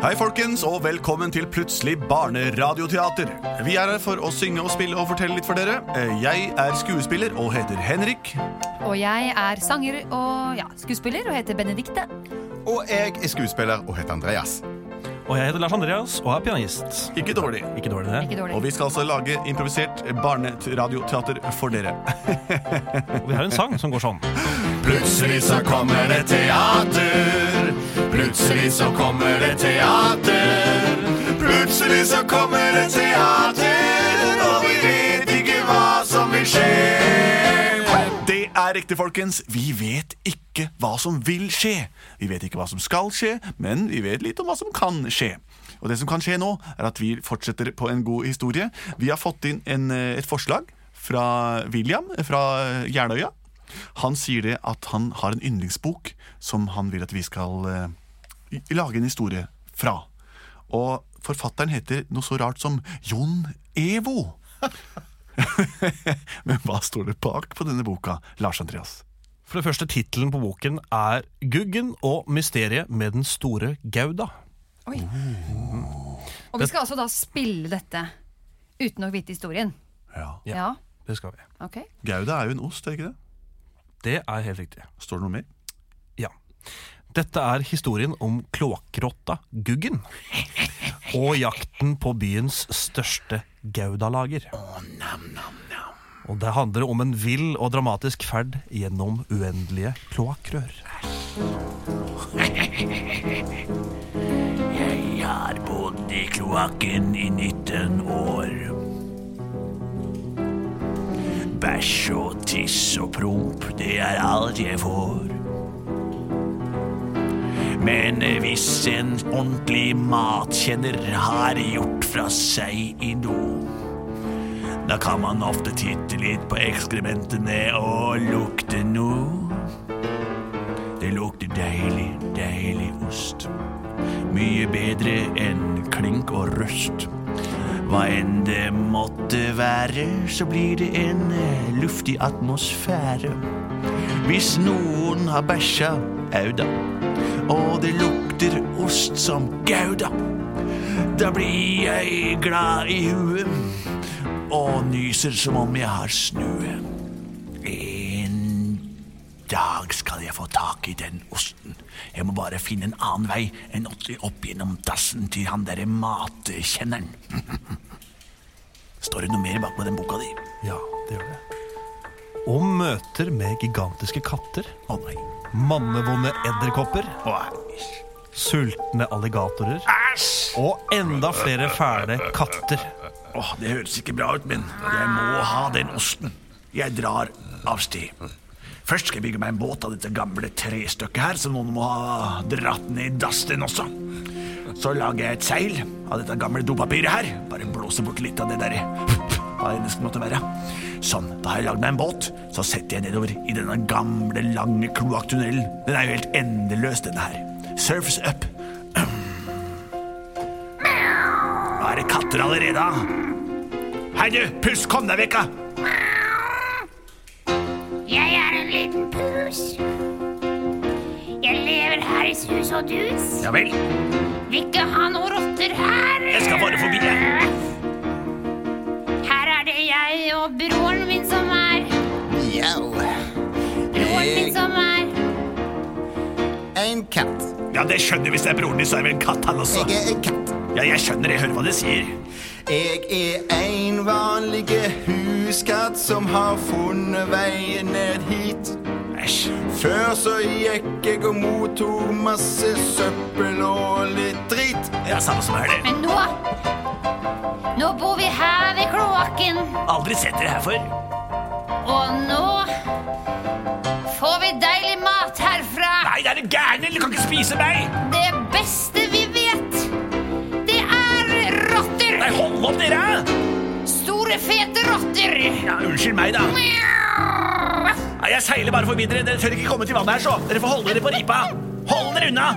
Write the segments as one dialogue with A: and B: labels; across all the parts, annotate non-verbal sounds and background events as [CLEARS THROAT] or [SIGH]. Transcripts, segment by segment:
A: Hei, folkens, og velkommen til Plutselig barneradioteater. Vi er her for å synge og spille og fortelle litt for dere. Eh, Jeg er skuespiller og heter Henrik.
B: Og jeg er sanger og ja, skuespiller og heter Benedikte.
C: Og jeg er skuespiller og heter Andreas.
D: Og jeg heter Lars Andreas og er pianist.
A: Ikke dårlig.
D: Ikke dårlig, det.
B: Ikke dårlig.
A: Og vi skal altså lage improvisert barneradioteater for dere.
D: Og vi har en sang som går sånn.
C: Plutselig så kommer det teater. Plutselig så kommer det teater. Plutselig så kommer det teater, og vi vet ikke hva som vil skje.
A: Det er riktig, folkens. Vi vet ikke hva som vil skje. Vi vet ikke hva som skal skje, men vi vet litt om hva som kan skje. Og det som kan skje nå, er at vi fortsetter på en god historie. Vi har fått inn en, eh, et forslag fra William fra eh, Jeløya. Han sier det at han har en yndlingsbok som han vil at vi skal eh, i- lage en historie fra. Og forfatteren heter noe så rart som Jon Evo. [LAUGHS] Men hva står det bak på denne boka, Lars Andreas?
D: For det første, tittelen på boken er 'Guggen og mysteriet med den store Gauda'.
B: Oi. Og vi skal altså da spille dette uten å vite historien.
A: Ja.
D: Ja.
B: Ja,
D: Det skal vi.
B: ok.
A: Gouda er jo en ost, er ikke det?
D: Det er helt riktig.
A: Står det noe mer?
D: Ja. Dette er historien om kloakkrotta Guggen. Og jakten på byens største gaudalager. Og det handler om en vill og dramatisk ferd gjennom uendelige kloakkrør.
E: Jeg har bodd i kloakken i 19 år. Bæsj og tiss og promp, det er alt jeg får. Men hvis en ordentlig matkjenner har gjort fra seg i do, da kan man ofte titte litt på ekskrementene og lukte noe. Det lukter deilig, deilig ost. Mye bedre enn klink og røst. Hva enn det måtte være, så blir det en eh, luftig atmosfære. Hvis noen har bæsja, auda, og det lukter ost som gouda, da blir jeg glad i huet og nyser som om jeg har snue. En dag skal jeg få tak i den osten. Jeg må bare finne en annen vei enn opp gjennom dassen til han derre matkjenneren. [LAUGHS] Står det noe mer bak på den boka di?
D: Ja, det gjør det. Og møter med gigantiske katter,
E: Å nei.
D: mannevonde edderkopper,
E: Å,
D: sultne alligatorer og enda flere fæle katter.
E: Åh, det høres ikke bra ut, men jeg må ha den osten. Jeg drar av sted. Først skal jeg bygge meg en båt av dette gamle trestykket her, så noen må ha dratt ned i dassen også. Så lager jeg et seil av dette gamle dopapiret her. Bare blåser bort litt av det der hva enn det skulle måtte være. Sånn, da har jeg lagd meg en båt. Så setter jeg nedover i denne gamle, lange kloakktunnelen. Den er jo helt endeløs, denne her. Surfs up. [CLEARS THROAT] Nå er det katter allerede. da. Hei, du! Puss, kom deg vekk! da.
F: Jeg er en liten pus. Jeg lever her i sus og dus.
E: Ja vel.
F: Vil ikke ha noen rotter her.
E: Jeg skal bare forbi,
F: Her er det jeg og broren min som er.
G: Yo,
F: Broren min som er.
G: en katt.
E: Ja, det skjønner Hvis det er broren din, så er det vel en katt, han også.
G: Jeg er en katt.
E: Ja, jeg skjønner. Jeg hører hva de sier.
G: Jeg er en vanlig huskatt som har funnet veien ned hit.
E: Æsj.
G: Før så gikk jeg og mottok masse søppel og litt dritt.
E: Ja, samme som er det.
F: Men nå Nå bor vi her ved kloakken,
E: Aldri sett dere her før.
F: og nå får vi deilig mat herfra.
E: Nei, det er du gæren? Du kan ikke spise meg!
F: Det beste vi vet, det er rotter.
E: Nei, hold opp, dere!
F: Store, fete rotter.
E: Ja, Unnskyld meg, da.
F: Mjau.
E: Nei, jeg seiler bare forbi dere. Dere tør ikke komme til vannet her, så. Dere får holde dere på ripa. Hold dere unna!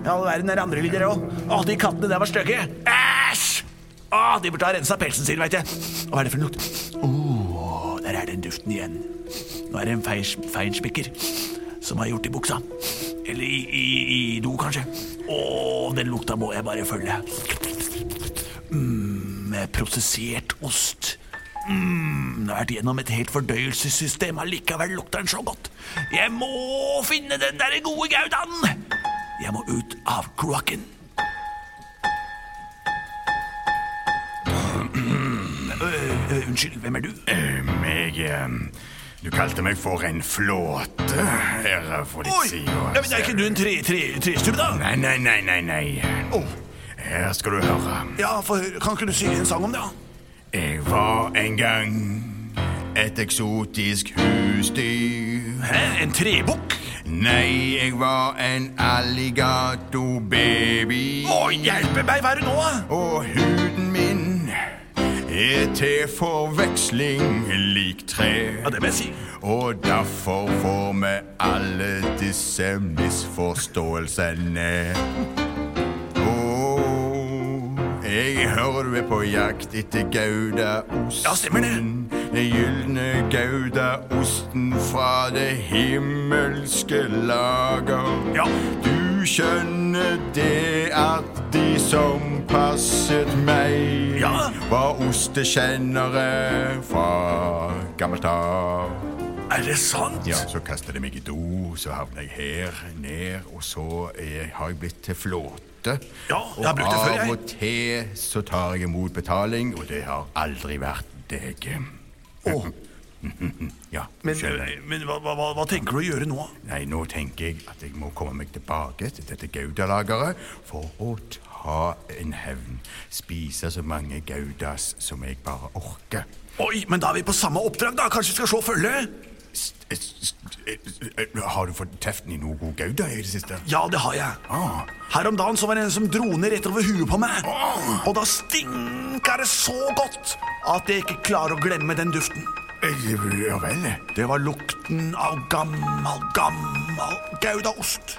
E: Ja, all verden er andre lyder òg. Å, de kattene der var stygge. Æsj! Å, de burde ha rensa pelsen sin, veit jeg. Hva er det for en lukt? Å, der er den duften igjen. Nå er det en feil, feilspikker som har gjort i buksa. Eller i, i, i do, kanskje. Å, den lukta må jeg bare følge. Mm, prosessert ost. Mm, den har vært gjennom et helt fordøyelsessystem, allikevel lukter den så godt. Jeg må finne den derre gode goudaen! Jeg må ut av kloakken. Øh, øh, unnskyld, hvem er du?
C: Ehm, Jeg ehm, Du kalte meg for en flåte her for ditt
E: Oi!
C: side.
E: Ja, men er ikke du en tre, tre, trestubbe, da?
C: Nei, nei, nei, nei. nei. Her skal du høre.
E: Oh. Ja, få høre. Kan ikke du synge en sang om det? da?
C: Jeg var en gang et eksotisk husdyr.
E: Hæ? En trebukk?
C: Nei, jeg var en alligatorbaby.
E: Å, hjelpe meg, hva er du nå, da?
C: Og huden min er til forveksling lik tre.
E: Ja, det må jeg si.
C: Og derfor får vi alle disse misforståelsene. Åh, jeg hører du er på jakt etter Goudaosten.
E: Ja, stemmer det.
C: Den gylne Goudaosten fra det himmelske lager.
E: Ja.
C: Du skjønner det at de som passet meg,
E: Ja.
C: var ostekjennere fra gammelt av.
E: Er det sant?
C: Ja, så kastet de meg i do, så havna jeg her, ned, og så er, har jeg blitt til flåte.
E: Ja, jeg har brukt det før, jeg.
C: Og av og til så tar jeg imot betaling, og det har aldri vært deg.
E: Åh,
C: [LAUGHS] Ja,
E: men
C: skjønner jeg.
E: men hva, hva, hva tenker du å gjøre nå?
C: Nei, nå tenker jeg at jeg må komme meg tilbake til dette Gauda-lageret for å ta en hevn. Spise så mange Gaudas som jeg bare orker.
E: Oi, men da er vi på samme oppdrag, da. Kanskje vi skal slå følge?
C: S- s- s- eh, Har du fått teften i noe god Gouda i det siste?
E: Ja, det har jeg.
C: Ah.
E: Her om dagen så var det en som dro ned rett over huet på meg.
C: Åh.
E: Og da stinka det så godt at jeg ikke klarer å glemme den duften.
C: Eh, Ja vel.
E: Det var lukten av gammel, gammel goudaost.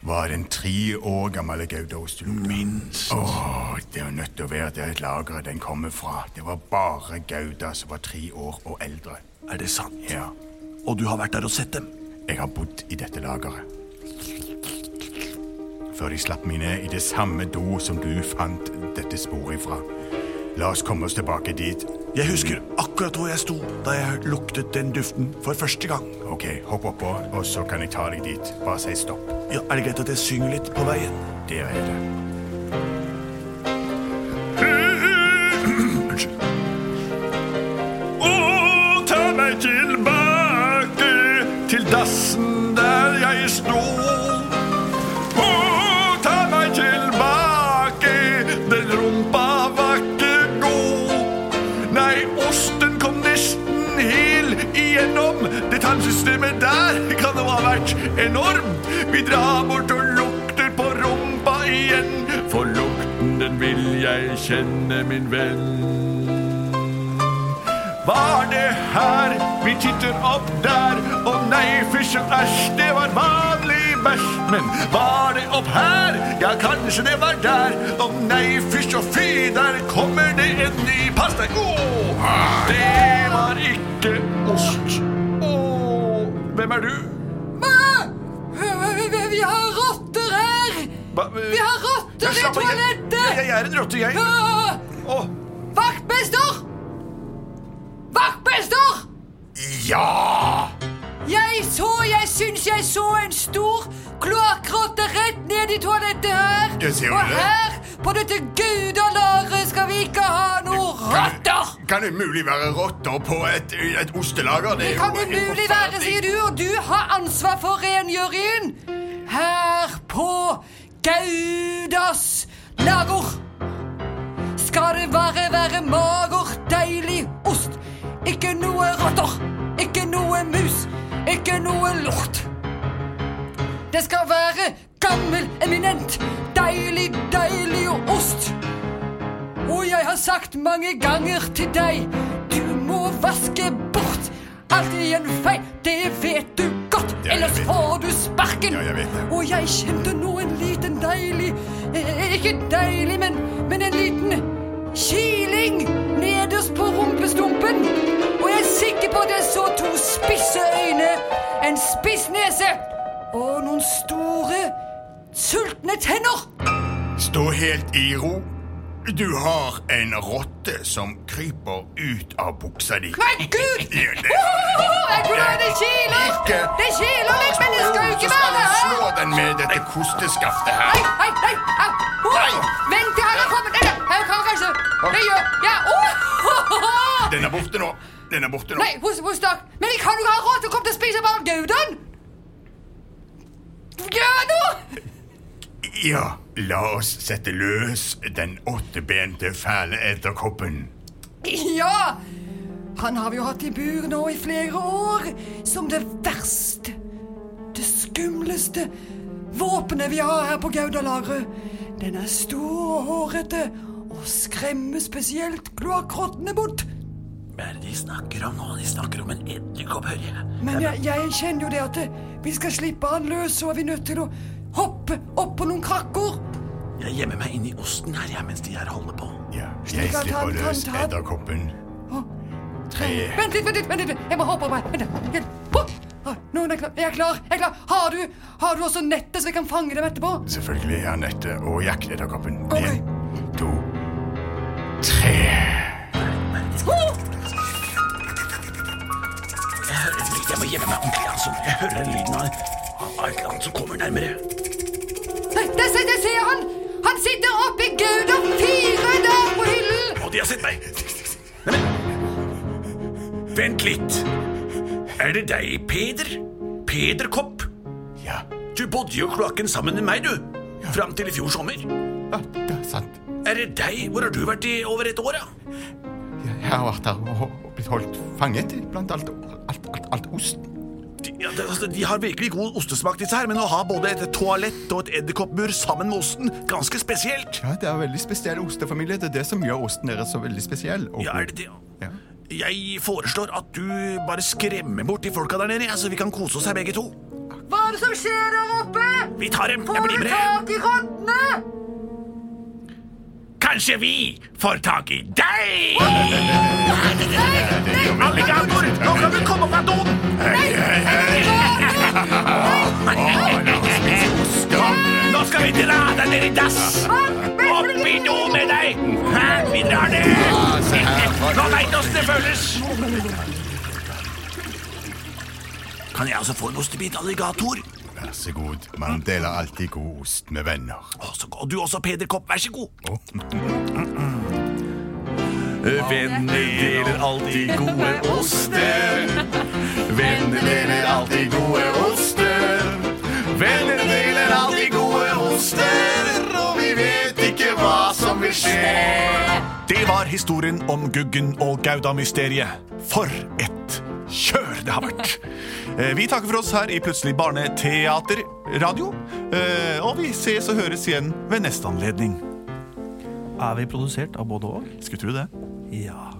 C: Var det en tre år gammel Gaudaost du lukta?
E: Minst.
C: Åh, det er nødt til å være det lageret den kommer fra. Det var bare Gauda som var tre år og eldre.
E: Er det sant?
C: Ja,
E: Og du har vært der og sett dem?
C: jeg har bodd i dette lageret. Før de slapp meg ned i det samme do som du fant dette sporet ifra. La oss komme oss tilbake dit.
E: Jeg husker akkurat hvor jeg sto da jeg luktet den duften for første gang.
C: Ok, hopp oppå, og så kan jeg ta deg dit. Bare si stopp.
E: Ja, er det greit at jeg synger litt på veien?
C: Der er det.
E: Unnskyld.
C: Å, ta meg tilbake til dassen der jeg sto. Å, ta meg tilbake, den rumpa var ikke god. Nei, osten kom nesten hel igjennom. Det tarmsystemet der kan jo ha vært enormt. Vi drar bort og lukter på rumpa igjen, for lukten den vil jeg kjenne, min venn. Var det her? Vi titter opp der. Å nei, fysj og æsj, det var vanlig bæsj. Men var det opp her? Ja, kanskje det var der. Å nei, fysj og fy, der kommer det en ny. Pass deg! Å, det var ikke ost. Å, hvem er du?
B: Vi har rotter her!
C: Hva-
B: Vi har rotter i
C: Slapp av, jeg- Jeg,
B: toalettet!
C: jeg er en rotte, jeg. Å,
B: Vaktmester! Vaktmester!
C: ja!
B: Jeg så, jeg syns jeg så en stor kloakkrotte rett ned i toalettet her.
C: Jeg ser
B: Og
C: det.
B: her, på dette gudalageret, skal vi ikke ha noe rotter!
C: Kan umulig være rotter på et, et ostelager.
B: Det kan umulig være, sier du, og du har ansvar for rengjøringen her på Gaudas lager. Skal det bare være mager, deilig ost. Ikke noe rotter, ikke noe mus, ikke noe lort. Det skal være gammel, eminent, deilig, deilig ost. Og jeg har sagt mange ganger til deg Du må vaske bort alt i en feil Det vet du godt,
C: Ja, jeg
B: ellers
C: vet det.
B: får du sparken
C: Ja, jeg vet det.
B: Og jeg kjente nå en liten deilig eh, Ikke deilig, men, men en liten kiling Nederst på rumpestumpen Og jeg er sikker på at jeg så to spisse øyne En spiss nese og noen store, sultne tenner.
C: Stå helt i ro. Du har en rotte som kryper ut av buksa di.
B: Nei, gud!
C: Ja, det-
B: Åh, jeg tror det kiler!
C: Ikke.
B: Det kiler litt, men det skal
C: Så
B: jo ikke
C: skal
B: være
C: du slå
B: her!
C: den med dette kosteskaftet her.
B: Nei, nei, nei! au, åh, Vent til han har kommet ned! Jeg kan reise. Det gjør Ja, åh!
C: Den er borte nå. Den er borte nå.
B: Nei, hos, hos deg. Men jeg kan jo ikke ha råd til å komme til å spise bare goudaen! Gjør noe!
C: Ja, la oss sette løs den åttebente fæle edderkoppen.
B: Ja! Han har vi jo hatt i bur nå i flere år som det verste, det skumleste våpenet vi har her på Gaudalageret. Den er stor og hårete og skremmer spesielt kloakkrottene bort.
E: Hva er det de snakker om nå? De snakker om en edderkopp, hører jeg.
B: Men jeg, jeg kjenner jo det at eh, vi skal slippe han løs, så er vi nødt til å hoppe opp på noen krakker.
E: Jeg gjemmer meg inni osten her jeg, mens de her holder på.
C: Ja, jeg
B: Slik at
C: slipper
B: han kan
C: løs
B: ta-
C: edderkoppen. Tre.
B: Vent litt, vent litt, vent litt. Jeg må hoppe opp her. Vent da. Hjelp. Ho! Ah, Nå er jeg klar. Jeg er klar. Jeg er klar. Har du, har du også nettet så vi kan fange dem etterpå?
C: Selvfølgelig, Anette. Og jakkedderkoppen.
B: Ok.
C: En, to, tre.
E: Jeg, hører en lyd. jeg må gjemme meg ordentlig, altså. Jeg hører den lyden av av et eller annet som kommer nærmere.
B: Nei, der, ser- der ser jeg han! Han sitter oppe i Gouda fire der på hyllen!
E: Og de har sett meg! Neimen Vent litt. Er det deg, Peder? Pederkopp?
C: Ja,
E: Du bodde jo i kloakken sammen med meg, du. Fram til i fjor sommer.
C: ja det er sant.
E: Er det deg? Hvor har du vært i over et år, ja?
C: Jeg har vært her og blitt holdt fanget blant alt, alt, alt, alt osten.
E: De, ja, det, altså, de har virkelig god ostesmak, disse her, men å ha både et toalett og et edderkoppbur sammen med osten, ganske spesielt.
C: Ja, det er en veldig spesiell ostefamilie. Det er det som gjør osten deres så veldig spesiell. Og
E: Ja, er det det?
C: Ja.
E: Jeg foreslår at du bare skremmer bort de folka der nede, ja, så vi kan kose oss her begge to.
B: Hva er det som skjer der oppe?
E: Vi tar dem. Jeg
B: Får
E: blir
B: du
E: med.
B: tak i rottene?
E: Kanskje vi får tak i deg! Alligator, nå kan du komme opp av doen!
C: Hei, hei, hei! Å, la oss spise ost.
E: Nå skal vi dra deg ned i dass! Opp i do med deg! Hæ? Vi drar ned!
C: Ja, se her.
E: Nå veit åssen det føles! Kan jeg også få en ostebit, alligator?
C: Vær så god. Man deler alltid god ost med venner.
E: Å, så god. Og du også, Peder Kopp. Vær så god.
A: Venner deler alltid gode oster.
C: Venner deler alltid gode oster. Venner deler alltid gode oster. Og vi vet ikke hva som vil skje.
A: Det var historien om Guggen og Gauda-mysteriet. For et kjør det har vært! Eh, Vi takker for oss her i Plutselig barneteaterradio. eh, Og vi ses og høres igjen ved neste anledning.
D: Er vi produsert av både og?
A: Skulle tro det.
D: Ja.